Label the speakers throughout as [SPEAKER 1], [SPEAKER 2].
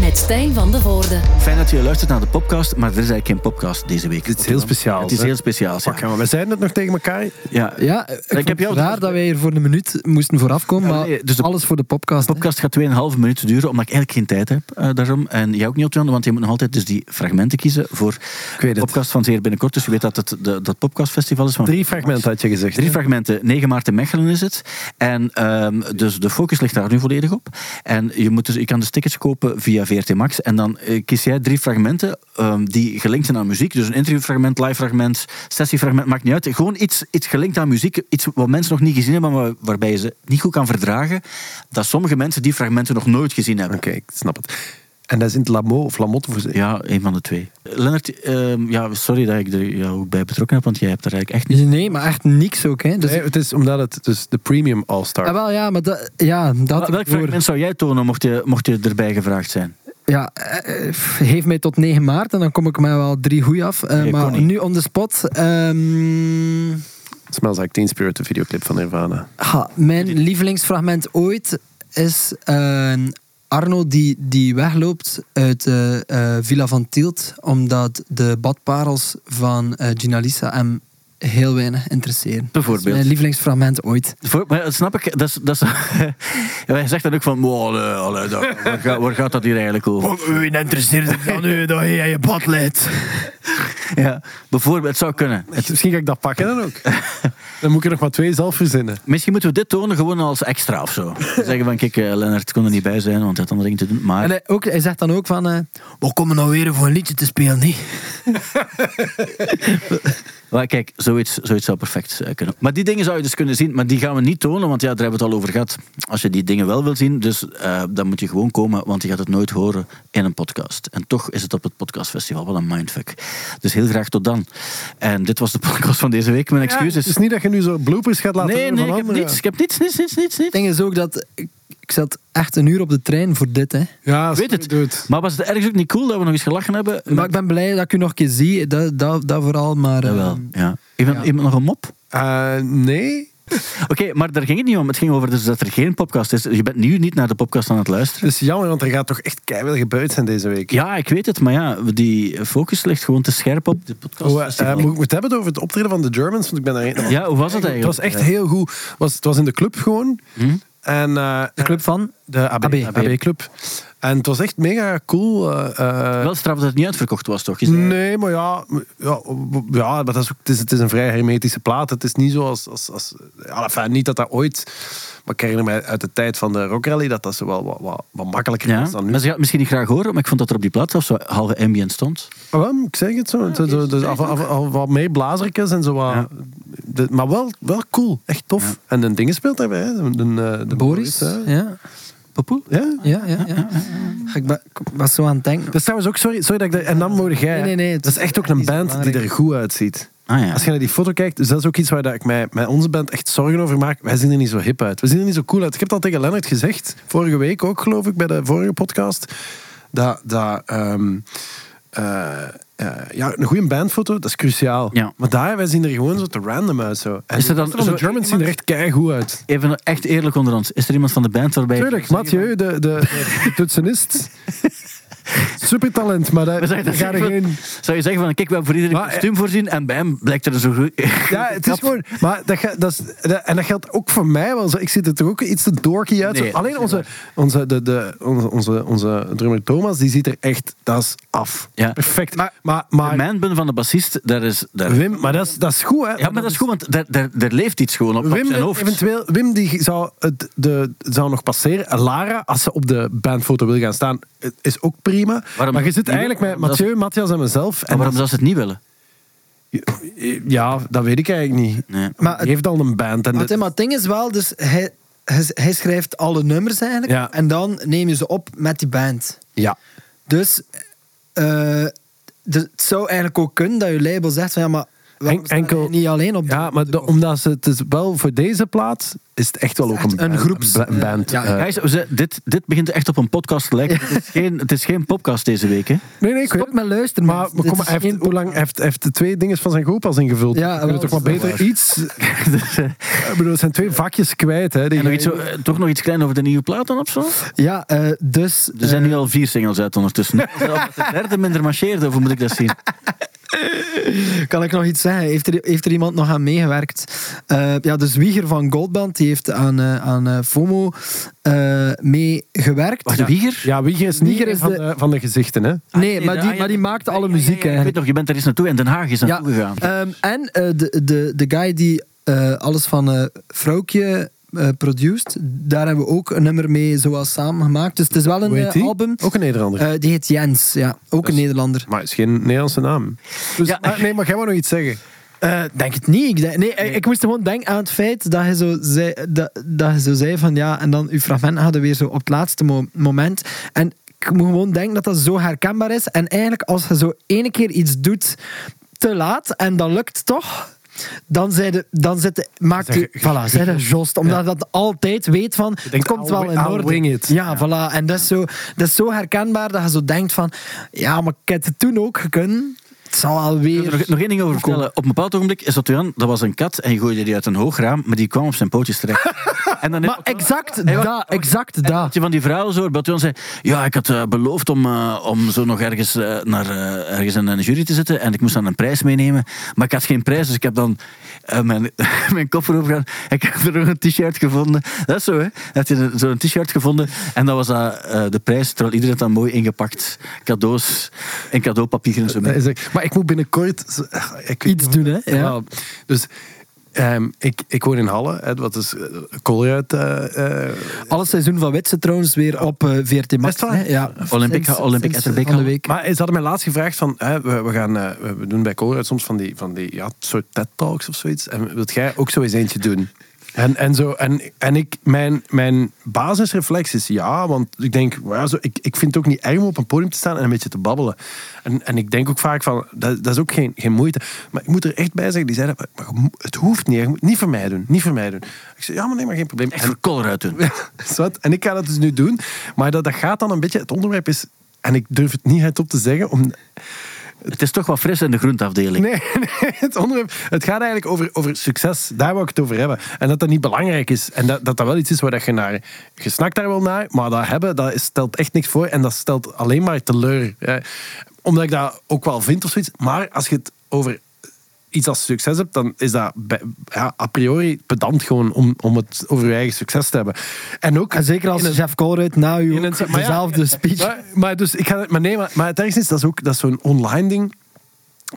[SPEAKER 1] met Stijn van de Voorde.
[SPEAKER 2] Fijn dat je luistert naar de podcast, maar er is eigenlijk geen podcast deze week.
[SPEAKER 3] Het is heel speciaal.
[SPEAKER 2] Het is
[SPEAKER 3] hè?
[SPEAKER 2] heel speciaal.
[SPEAKER 3] Fuck, ja, maar we zeiden het nog tegen elkaar.
[SPEAKER 2] Ja, ja.
[SPEAKER 4] Ja, eh, ik,
[SPEAKER 2] heb
[SPEAKER 4] heb
[SPEAKER 2] jou-
[SPEAKER 4] jou raar dat wij hier voor een minuut moesten voorafkomen,
[SPEAKER 2] Ja,
[SPEAKER 4] maar
[SPEAKER 2] nee, dus de-
[SPEAKER 4] alles voor de podcast.
[SPEAKER 2] De podcast gaat 2,5 minuten duren, omdat ik eigenlijk geen tijd heb eh, daarom. En jij ook niet, Jan, want je moet nog altijd dus die fragmenten kiezen voor de
[SPEAKER 3] het.
[SPEAKER 2] podcast van zeer binnenkort. Dus je weet dat het de, dat podcastfestival is van
[SPEAKER 3] Drie fragmenten had je gezegd.
[SPEAKER 2] Drie fragmenten. 9 maart in Mechelen is het. En ehm, dus de focus ligt daar nu volledig op. En je, moet dus, je kan dus tickets kopen via VRT Max. En dan eh, kies jij drie fragmenten ehm, die gelinkt zijn aan muziek. Dus een interviewfragment, livefragment, sessiefragment, maakt niet uit. Gewoon iets, iets gelinkt aan muziek. Iets wat mensen nog niet gezien hebben, maar waar- waarbij je ze niet goed kan verdragen. Dat sommige mensen die fragmenten nog nooit gezien hebben.
[SPEAKER 3] Oké, ik snap het. En dat is in het Lamo of Lamotte voor
[SPEAKER 2] Ja, een van de twee. Lennart, ehm, ja, sorry dat ik er jou ook bij betrokken heb, want jij hebt er eigenlijk echt niet...
[SPEAKER 4] Dus Nee, maar echt niks ook. Hè. Dus,
[SPEAKER 3] Nee, het is omdat het dus de premium all-star.
[SPEAKER 4] Ah, wel, ja, maar dat, ja, dat had ik
[SPEAKER 2] Welk
[SPEAKER 4] voor.
[SPEAKER 2] fragment zou jij tonen mocht je, mocht je erbij gevraagd zijn?
[SPEAKER 4] Ja, eh, eh, geef mij tot 9 maart en dan kom ik mij wel drie goeie af. Eh,
[SPEAKER 2] Nee, kon
[SPEAKER 4] maar
[SPEAKER 2] niet.
[SPEAKER 4] nu on the spot. ehm,
[SPEAKER 3] Smells like Teen Spirit, de videoclip van Nirvana.
[SPEAKER 4] ha, mijn lievelingsfragment ooit is eh, Arno die, die wegloopt uit de eh, Villa van Tielt. Omdat de badparels van eh Gina Lisa hem heel weinig interesseren.
[SPEAKER 2] Bijvoorbeeld.
[SPEAKER 4] Dat is mijn lievelingsfragment ooit.
[SPEAKER 2] Voor- maar dat snap ik. Dat is, dat is, ja, hij zegt dan ook van... "Wow, allee, allee, dat- waar, gaat, waar gaat dat hier eigenlijk over?
[SPEAKER 3] Wie Oh, interesseert het dan nu dat jij je bad leidt?
[SPEAKER 2] Ja, bijvoorbeeld, het zou kunnen.
[SPEAKER 3] Misschien ga ik dat pakken dan ook. Dan moet ik er nog maar twee zelf verzinnen.
[SPEAKER 2] Misschien moeten we dit tonen gewoon als extra of zo. Zeggen van, kijk, eh, Lennart kon er niet bij zijn, want hij had andere dingen te doen. Maar
[SPEAKER 4] En hij, ook, hij zegt dan ook van... eh we komen nou weer voor een liedje te spelen, niet?
[SPEAKER 2] maar kijk, zoiets, zoiets zou perfect eh, kunnen. Maar die dingen zou je dus kunnen zien, maar die gaan we niet tonen, want ja, daar hebben we het al over gehad. Als je die dingen wel wil zien, dus eh, dan moet je gewoon komen, want je gaat het nooit horen in een podcast. En toch is het op het podcastfestival wel een mindfuck. Dus heel graag tot dan. En dit was de podcast van deze week. Mijn
[SPEAKER 3] Het
[SPEAKER 2] excuses.
[SPEAKER 3] is niet dat je nu zo bloopers gaat laten
[SPEAKER 2] Nee,
[SPEAKER 3] horen
[SPEAKER 2] nee,
[SPEAKER 3] van
[SPEAKER 2] ik heb
[SPEAKER 3] anderen.
[SPEAKER 2] niets. Ik heb niets, niets, niets, niets.
[SPEAKER 4] Het ding is ook dat... Ik, ik zat echt een uur op de trein voor dit, hè.
[SPEAKER 3] Ja,
[SPEAKER 2] Weet het.
[SPEAKER 3] Doe het.
[SPEAKER 2] Maar was het ergens ook niet cool dat we nog eens gelachen hebben?
[SPEAKER 4] Maar ik ben blij dat ik u nog een keer zie. Dat, dat, dat vooral, maar... eh,
[SPEAKER 2] Jawel, ja. Iemand, iemand nog een mop?
[SPEAKER 3] Eh, nee.
[SPEAKER 2] Oké, maar daar ging het niet om. Het ging over dus dat er geen podcast is. Je bent nu niet naar de podcast aan het luisteren.
[SPEAKER 3] Het is jammer, want er gaat toch echt keihard gebeurd zijn deze week.
[SPEAKER 2] Ja, ik weet het, maar ja, die focus ligt gewoon te scherp op de podcast.
[SPEAKER 3] Oh, eh, moet ik moet het hebben over het optreden van de Germans? Want ik ben daar helemaal-
[SPEAKER 2] ja, Mhm. hoe was het
[SPEAKER 3] Het
[SPEAKER 2] eigenlijk? Eh,
[SPEAKER 3] was echt heel goed. Het Was, het was in de club gewoon. En, eh,
[SPEAKER 4] de club van...
[SPEAKER 3] De AB,
[SPEAKER 4] AB.
[SPEAKER 3] AB-club. En het was echt mega cool. eh, eh,
[SPEAKER 2] Wel straf dat het niet uitverkocht was, toch? Je zei-
[SPEAKER 3] nee, maar ja, ja, ja maar dat is ook, het, is, het is een vrij hermetische plaat. Het is niet zo als... als, als ja, enfin, niet dat dat ooit... Maar ik herinner mij uit de tijd van de Rock Rally dat dat zo wel wat, wat, wat makkelijker
[SPEAKER 2] Ja,
[SPEAKER 3] is dan nu.
[SPEAKER 2] mensen gaan het misschien niet graag horen, maar ik vond dat er op die plaat zelfs zo halve ambient stond.
[SPEAKER 3] Maar wel, Oh, ik zeg het zo. zo- zo- dus af, af, af- wat meer blazertjes en zo wat...
[SPEAKER 2] Ja.
[SPEAKER 3] de- maar wel, wel cool. Echt tof. En een ding speelt daarbij. hè. De, de, de- de
[SPEAKER 4] Boris?
[SPEAKER 3] hè.
[SPEAKER 4] Ja.
[SPEAKER 2] Popoel?
[SPEAKER 3] ja.
[SPEAKER 4] Ja, ja, ja. Ga Ik ben- ik was zo aan het denken.
[SPEAKER 3] Dat is trouwens ook, sorry, sorry dat ik daar, en dan mogen jij.
[SPEAKER 4] Nee, nee, nee, het
[SPEAKER 3] dat is echt ook een
[SPEAKER 4] is
[SPEAKER 3] band die
[SPEAKER 4] belangrijk.
[SPEAKER 3] er goed uitziet.
[SPEAKER 2] Ah ja.
[SPEAKER 3] Als je naar die foto kijkt, dus dat is ook iets waar dat ik mij met onze band echt zorgen over maak. Wij zien er niet zo hip uit. We zien er niet zo cool uit. Ik heb dat tegen Lennart gezegd, vorige week ook geloof ik, bij de vorige podcast. Dat, dat ehm, eh, eh, ja, een goede bandfoto, dat is cruciaal.
[SPEAKER 2] Ja.
[SPEAKER 3] Maar daar, wij zien er gewoon zo te random uit. Zo. En
[SPEAKER 2] Is er dan
[SPEAKER 3] de rest van de
[SPEAKER 2] zo
[SPEAKER 3] Germans zien er echt keigoed uit.
[SPEAKER 2] Even echt eerlijk onder ons. Is er iemand van de band waarbij...
[SPEAKER 3] Tuurlijk, Mathieu, de, de, de toetsenist. Supertalent, maar daar
[SPEAKER 2] We zeggen
[SPEAKER 3] daar
[SPEAKER 2] dat
[SPEAKER 3] ga je
[SPEAKER 2] zeggen
[SPEAKER 3] geen...
[SPEAKER 2] van- Zou je zeggen van, kijk, we hebben voor iedereen een
[SPEAKER 3] Maar, eh,
[SPEAKER 2] kostuum voorzien en bij hem blijkt er zo goed...
[SPEAKER 3] Ja, het is gewoon. Maar dat, ge- dat is, dat- en dat geldt ook voor mij wel. zo. Ik zie er toch ook iets te dorky uit. zo.
[SPEAKER 2] Nee, dat
[SPEAKER 3] Alleen onze, onze, de, de, onze, onze, onze drummer Thomas, die ziet er echt. Dat is af.
[SPEAKER 2] Ja.
[SPEAKER 3] Perfect. Maar, maar,
[SPEAKER 2] De
[SPEAKER 3] maar
[SPEAKER 2] manbun van de bassist, daar is... Daar...
[SPEAKER 3] Wim, maar dat is, dat is goed, hè?
[SPEAKER 2] Ja, maar dat is goed, want daar, daar, daar leeft iets gewoon op, op
[SPEAKER 3] Wim,
[SPEAKER 2] zijn hoofd.
[SPEAKER 3] eventueel, Wim die zou, het, de, zou nog passeren. En Lara, als ze op de bandfoto wil gaan staan, het is ook prima.
[SPEAKER 2] Waarom-
[SPEAKER 3] maar je zit eigenlijk met
[SPEAKER 2] Waarom dat-
[SPEAKER 3] Mathieu, Matthias en mezelf.
[SPEAKER 2] En
[SPEAKER 3] En
[SPEAKER 2] waarom zou ze het niet willen?
[SPEAKER 3] ja, dat weet ik eigenlijk niet.
[SPEAKER 2] Nee.
[SPEAKER 3] Maar
[SPEAKER 4] Maar
[SPEAKER 3] die heeft al een band. En
[SPEAKER 4] Maar, het-
[SPEAKER 3] de-
[SPEAKER 4] maar het ding is wel, dus hij, hij, hij schrijft alle nummers eigenlijk.
[SPEAKER 3] Ja.
[SPEAKER 4] En dan neem je ze op met die band.
[SPEAKER 3] ja.
[SPEAKER 4] Dus, eh, de- het zou eigenlijk ook kunnen dat je label zegt van ja, maar waarom
[SPEAKER 3] En-
[SPEAKER 4] staan
[SPEAKER 3] enkel-
[SPEAKER 4] wij Niet alleen op de-
[SPEAKER 3] Ja, maar de- omdat ze, het is wel voor deze plaat is het echt wel ook
[SPEAKER 4] echt
[SPEAKER 3] een,
[SPEAKER 4] een
[SPEAKER 3] band-
[SPEAKER 4] groeps-
[SPEAKER 3] ba- een band.
[SPEAKER 4] ja,
[SPEAKER 3] eh.
[SPEAKER 2] Gijs, ze- dit, dit begint echt op een podcast te lijken. Het, is geen, het is geen podcast deze week, hè?
[SPEAKER 3] nee, nee, ik weet
[SPEAKER 4] Stop met luisteren,
[SPEAKER 3] Maar,
[SPEAKER 4] mensen.
[SPEAKER 3] maar
[SPEAKER 4] Dit
[SPEAKER 3] kom,
[SPEAKER 4] is
[SPEAKER 3] hij heeft,
[SPEAKER 4] geen-
[SPEAKER 3] hoe lang hij heeft, hij heeft de twee dingen van zijn groep als ingevuld?
[SPEAKER 4] Ja,
[SPEAKER 3] Ja, we
[SPEAKER 4] wel,
[SPEAKER 3] toch maar
[SPEAKER 4] dat is wel
[SPEAKER 3] beter iets. Ik bedoel, het zijn twee vakjes kwijt. Hè, die
[SPEAKER 2] En nog
[SPEAKER 3] jij-
[SPEAKER 2] iets, zo- eh, toch nog iets klein over de nieuwe plaat dan of zo?
[SPEAKER 4] Ja, eh, dus...
[SPEAKER 2] Er zijn nu al vier singles uit ondertussen. Zelfs de derde minder marcheerde, of hoe moet ik dat zien?
[SPEAKER 4] eh, Kan ik nog iets zeggen? Heeft er, heeft er iemand nog aan meegewerkt? Eh, ja, de zwieger van Goldband die heeft aan, eh, aan eh, FOMO eh, meegewerkt.
[SPEAKER 2] Wacht, Wieger?
[SPEAKER 3] Ja, Wieger is niet
[SPEAKER 4] Wieger is
[SPEAKER 3] van,
[SPEAKER 4] de-
[SPEAKER 3] de... van de gezichten. Hè.
[SPEAKER 4] Nee, maar
[SPEAKER 2] Ah,
[SPEAKER 4] die,
[SPEAKER 2] ja.
[SPEAKER 4] maar die maakte alle
[SPEAKER 2] Ja, ja, ja,
[SPEAKER 4] muziek
[SPEAKER 2] ja, Ik weet
[SPEAKER 4] eigenlijk.
[SPEAKER 2] nog, je bent er eens naartoe en Den Haag is naartoe gegaan.
[SPEAKER 4] ehm, en eh, de, de, de guy die eh, alles van eh Vrouwtje eh produced, daar hebben we ook een nummer mee zoals samen gemaakt. Dus het is wel een
[SPEAKER 3] Hoe heet
[SPEAKER 4] eh,
[SPEAKER 3] die?
[SPEAKER 4] album.
[SPEAKER 3] Ook een Nederlander.
[SPEAKER 4] Eh, die heet Jens, ja. Ook een Nederlander.
[SPEAKER 3] maar het is geen Nederlandse naam. Dus,
[SPEAKER 2] Ja.
[SPEAKER 3] maar, nee, maar jij wou nog iets zeggen.
[SPEAKER 4] Eh, denk het niet. Ik denk- nee, ik- Ik moest gewoon denken aan het feit dat je zo zei, dat, dat je zo zei van ja, en dan uw fragmenten hadden weer zo op het laatste mo- moment. En ik moet gewoon denken dat dat zo herkenbaar is. En eigenlijk als je zo ene keer iets doet te laat en dat lukt toch. Dan, zei de, dan zit de- maakt u, voilà, zei de Jost, omdat je dat altijd weet van, het
[SPEAKER 3] denkt,
[SPEAKER 4] komt
[SPEAKER 3] I'll
[SPEAKER 4] wel
[SPEAKER 3] wi-
[SPEAKER 4] in
[SPEAKER 3] I'll
[SPEAKER 4] orde.
[SPEAKER 3] wing it.
[SPEAKER 4] Ja, voilà. En dat is, zo, dat is zo herkenbaar dat je zo denkt van, ja, maar ik heb het toen ook gekund. Het zal alweer...
[SPEAKER 2] Ik wil er nog, nog één ding over vertellen. Op een bepaald ogenblik is dat Jan, dat was een kat en je gooide die uit een hoog raam, maar die kwam op zijn pootjes terecht. en dan
[SPEAKER 4] Maar exact dat, exact
[SPEAKER 2] had
[SPEAKER 4] dat.
[SPEAKER 2] je van die vrouwen zo, Batuan zei, ja, ik had eh, beloofd om, eh, om zo nog ergens, eh, naar, eh, ergens in een jury te zitten en ik moest dan een prijs meenemen, maar ik had geen prijs, dus ik heb dan eh, mijn, mijn koffer overgegaan en ik heb er nog een t-shirt gevonden. Dat is zo, hè? Had je een- zo'n t-shirt gevonden en dat was dat, eh, de prijs, terwijl iedereen had dat mooi ingepakt. Cadeaus en cadeaupapier en zo.
[SPEAKER 3] Dat is echt- maar ik moet binnenkort z- ach, ik weet
[SPEAKER 4] Iets
[SPEAKER 3] niet of-
[SPEAKER 4] doen, hè? Ja.
[SPEAKER 3] Wel, Dus ehm, ik, ik woon in Halle, hè, wat is eh, Colruyt. eh, eh,
[SPEAKER 4] Alle seizoen van Witse trouwens weer op eh, VRT Max.
[SPEAKER 3] Is het waar?
[SPEAKER 4] hè? Ja. eh,
[SPEAKER 2] Olympic-
[SPEAKER 4] Sinds-
[SPEAKER 2] Olympic
[SPEAKER 4] sinds
[SPEAKER 2] Etterbeek
[SPEAKER 4] van de
[SPEAKER 2] al.
[SPEAKER 4] week.
[SPEAKER 3] Maar ze hadden mij laatst gevraagd van, hè, we, we, gaan, eh, we- we doen bij Colruyt soms van die, van die ja, soort TED-talks of zoiets. En wilt jij ook zo eens eentje doen? En, en, zo, en, en ik, mijn, mijn basisreflex is ja, want ik denk, ja, zo, ik, ik vind het ook niet erg om op een podium te staan en een beetje te babbelen. En, en ik denk ook vaak van, dat, dat is ook geen, geen moeite. Maar ik moet er echt bij zeggen, die zeiden, maar je moet- het hoeft niet, je moet het niet voor mij doen, niet voor mij doen. Ik zei, ja, maar nee, maar geen probleem.
[SPEAKER 2] Echt
[SPEAKER 3] En-
[SPEAKER 2] voor Colruyt doen.
[SPEAKER 3] Zwat. En ik ga dat dus nu doen. Maar dat, dat gaat dan een beetje... Het onderwerp is... En ik durf het niet hardop te zeggen. Om,
[SPEAKER 2] Het is toch wat fris in de groenteafdeling.
[SPEAKER 3] nee, nee, het onderwerp... Het gaat eigenlijk over, over succes. Daar wil ik het over hebben. En dat dat niet belangrijk is. En dat dat, dat wel iets is waar dat je naar... Je snakt daar wel naar, maar dat hebben, dat is- stelt echt niks voor. En dat stelt alleen maar teleur. Eh, omdat ik dat ook wel vind of zoiets. Maar als je het over iets als succes hebt, dan is dat bij- ja, a priori pedant gewoon om, om het over je eigen succes te hebben. En ook...
[SPEAKER 4] En zeker als
[SPEAKER 3] in een-
[SPEAKER 4] Jeff Colruyt na uw
[SPEAKER 3] in een- maar ja, eh,
[SPEAKER 4] dezelfde speech.
[SPEAKER 3] Maar, maar dus, ik ga, maar nee, maar, maar het ergste is, dat is ook dat is zo'n online ding.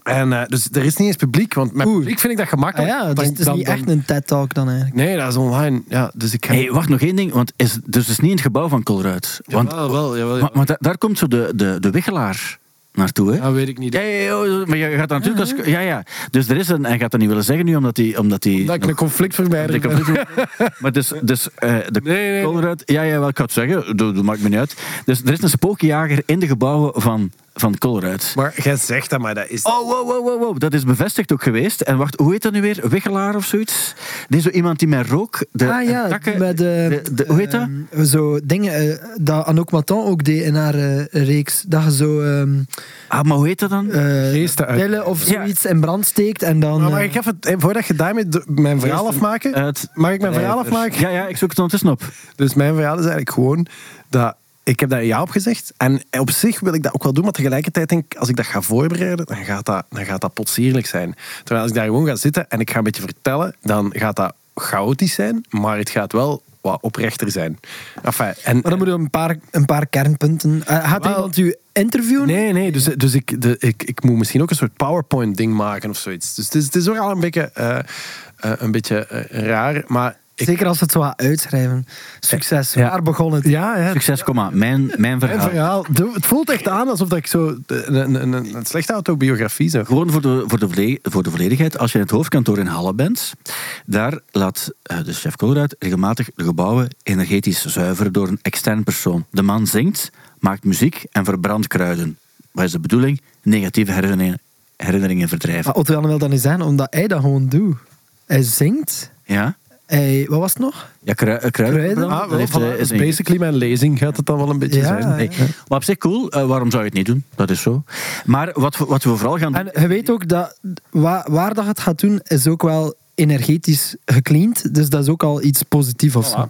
[SPEAKER 3] En eh, dus er is niet eens publiek, want met
[SPEAKER 4] Oeh.
[SPEAKER 3] publiek vind ik dat
[SPEAKER 4] Ah
[SPEAKER 3] gemakkelijk.
[SPEAKER 4] ja, dus
[SPEAKER 3] Dan-
[SPEAKER 4] het is
[SPEAKER 3] dan-
[SPEAKER 4] niet
[SPEAKER 3] dan-
[SPEAKER 4] echt een TED-talk dan eigenlijk.
[SPEAKER 3] Nee, dat is online. Ja, dus ik ga...
[SPEAKER 2] Hey, wacht nog één ding, want is, dus het is niet in het gebouw van Colruyt. Want,
[SPEAKER 3] Jawel, wel, jawel,
[SPEAKER 2] Maar,
[SPEAKER 3] jawel.
[SPEAKER 2] maar da- daar komt zo de, de, de wichelaar naartoe, hè?
[SPEAKER 3] Ja, weet ik niet.
[SPEAKER 2] Ja, ja, ja, oh, maar je gaat dan natuurlijk als... Ja, ja. Dus er is een... Hij gaat dat niet willen zeggen nu, omdat hij... Omdat hij
[SPEAKER 3] dat ik een conflict vermijder ben.
[SPEAKER 2] maar dus... dus eh, de
[SPEAKER 3] Nee, nee.
[SPEAKER 2] Colruyt- Ja, ja, wel, ik had het zeggen. Dat, dat maakt me niet uit. Dus er is een spookjager in de gebouwen van, van Colruyt.
[SPEAKER 3] Maar jij zegt dat, maar dat is...
[SPEAKER 2] Oh, wow, wow, wow, wow. Dat is bevestigd ook geweest. En wacht, hoe heet dat nu weer? Wichelaar of zoiets? Nee, zo iemand die met rook... De,
[SPEAKER 4] ah ja,
[SPEAKER 2] en takken,
[SPEAKER 4] met, eh,
[SPEAKER 2] de- de- hoe heet dat?
[SPEAKER 4] ehm, zo dingen eh, dat Anouk Maton ook deed in haar eh, reeks. Dat je zo ehm
[SPEAKER 2] ah, maar hoe heet dat dan?
[SPEAKER 4] eh,
[SPEAKER 3] Geesten uit-
[SPEAKER 4] pillen of
[SPEAKER 2] Ja.
[SPEAKER 4] zoiets in brand steekt en dan...
[SPEAKER 3] Maar mag
[SPEAKER 4] eh,
[SPEAKER 3] ik even, eh, voordat je daarmee de- mijn verhaal
[SPEAKER 2] Eerst-
[SPEAKER 3] afmaken...
[SPEAKER 2] Uit-
[SPEAKER 3] Mag ik mijn verhaal
[SPEAKER 2] Nee,
[SPEAKER 3] afmaken?
[SPEAKER 2] Ja, ja, ik zoek Eh, het ondertussen op.
[SPEAKER 3] Dus mijn verhaal is eigenlijk gewoon dat ik heb daar ja op gezegd. En op zich wil ik dat ook wel doen, maar tegelijkertijd denk ik, als ik dat ga voorbereiden, dan gaat dat, dan gaat dat potsierlijk zijn. Terwijl als ik daar gewoon ga zitten en ik ga een beetje vertellen, dan gaat dat chaotisch zijn, maar het gaat wel wat oprechter zijn. Enfin, en,
[SPEAKER 4] Maar dan moeten we een paar, een paar kernpunten... Eh, gaat
[SPEAKER 3] Wel-
[SPEAKER 4] iemand u interviewen?
[SPEAKER 3] Nee, nee, dus, dus ik, de, ik, ik moet misschien ook een soort PowerPoint-ding maken of zoiets. Dus het is, het is ook al een beetje, eh, eh, een beetje eh, raar, maar... Ik,
[SPEAKER 4] Zeker als we het zo gaat uitschrijven. Succes,
[SPEAKER 3] Ja.
[SPEAKER 4] waar begon het?
[SPEAKER 3] ja, ja,
[SPEAKER 2] Succes, kom aan. Mijn, mijn verhaal.
[SPEAKER 3] Mijn verhaal. De- Het voelt echt aan alsof dat ik zo een, een, een, een slechte autobiografie zou.
[SPEAKER 2] Gewoon voor de, voor, de volle- voor de volledigheid, als je in het hoofdkantoor in Halle bent, daar laat eh, de chef Colruyt regelmatig de gebouwen energetisch zuiveren door een extern persoon. De man zingt, maakt muziek en verbrandt kruiden. Wat is de bedoeling? Negatieve hersenen- herinneringen verdrijven.
[SPEAKER 3] Ah.
[SPEAKER 4] Maar Otto Jan wil dat niet zeggen, omdat hij dat gewoon doet. Hij zingt.
[SPEAKER 2] Ja?
[SPEAKER 4] Hij, wat was het nog?
[SPEAKER 2] Ja, krui, eh, kruiden.
[SPEAKER 4] Kruiden?
[SPEAKER 2] verbranden,
[SPEAKER 3] Ah,
[SPEAKER 2] dat
[SPEAKER 3] wel,
[SPEAKER 2] heeft,
[SPEAKER 3] voilà,
[SPEAKER 2] eh,
[SPEAKER 3] dat is
[SPEAKER 2] een-
[SPEAKER 3] basically mijn lezing, gaat het dan wel een beetje
[SPEAKER 4] Ja,
[SPEAKER 3] zijn.
[SPEAKER 4] ja.
[SPEAKER 2] Nee. Maar op zich cool, eh, waarom zou je het niet doen? Dat is zo. Maar wat, we- wat we vooral gaan doen...
[SPEAKER 4] En je weet ook dat waar, waar dat je het gaat doen, is ook wel energetisch gecleaned. Dus dat is ook al iets positiefs of zo.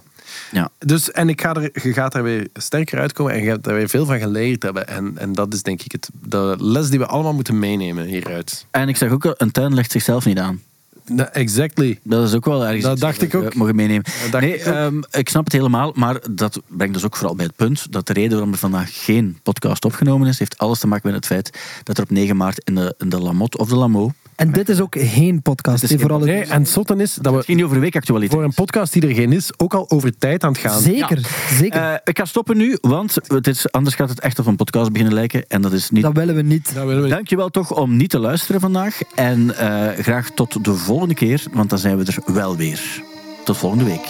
[SPEAKER 2] Ja.
[SPEAKER 3] Dus, en ik ga er, je gaat er weer sterker uitkomen en je hebt er weer veel van geleerd hebben. En, en dat is denk ik het, de les die we allemaal moeten meenemen hieruit.
[SPEAKER 2] En ik zeg ook, al, een tuin legt zichzelf niet aan.
[SPEAKER 3] Nou, exactly.
[SPEAKER 2] Dat is ook wel ergens.
[SPEAKER 3] Dat
[SPEAKER 2] iets
[SPEAKER 3] dacht
[SPEAKER 2] dat
[SPEAKER 3] ik
[SPEAKER 2] we,
[SPEAKER 3] ook.
[SPEAKER 2] eh, Mogen meenemen.
[SPEAKER 3] Dat dacht
[SPEAKER 2] nee,
[SPEAKER 3] ik ook.
[SPEAKER 2] ehm, ik snap het helemaal, maar dat brengt dus ook vooral bij het punt dat de reden waarom er vandaag geen podcast opgenomen is, heeft alles te maken met het feit dat er op 9 maart in de, in de Lamotte of de Lamo.
[SPEAKER 4] En dit is ook geen podcast.
[SPEAKER 2] Dit is
[SPEAKER 4] hè,
[SPEAKER 2] geen
[SPEAKER 4] voor alle
[SPEAKER 3] Nee, en het zotte is dat
[SPEAKER 2] Het
[SPEAKER 3] we
[SPEAKER 2] ging niet over weekactualiteit.
[SPEAKER 3] voor een podcast die er geen is, ook al over tijd aan het gaan.
[SPEAKER 4] Zeker, zeker.
[SPEAKER 2] Eh, ik ga stoppen nu, want het is, anders gaat het echt op een podcast beginnen lijken en dat is niet.
[SPEAKER 4] dat willen we niet.
[SPEAKER 3] Dat willen we.
[SPEAKER 2] Dankjewel toch om niet te luisteren vandaag en eh, graag tot de volgende keer, want dan zijn we er wel weer. Tot volgende week.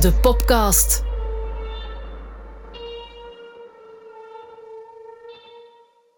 [SPEAKER 1] De podcast.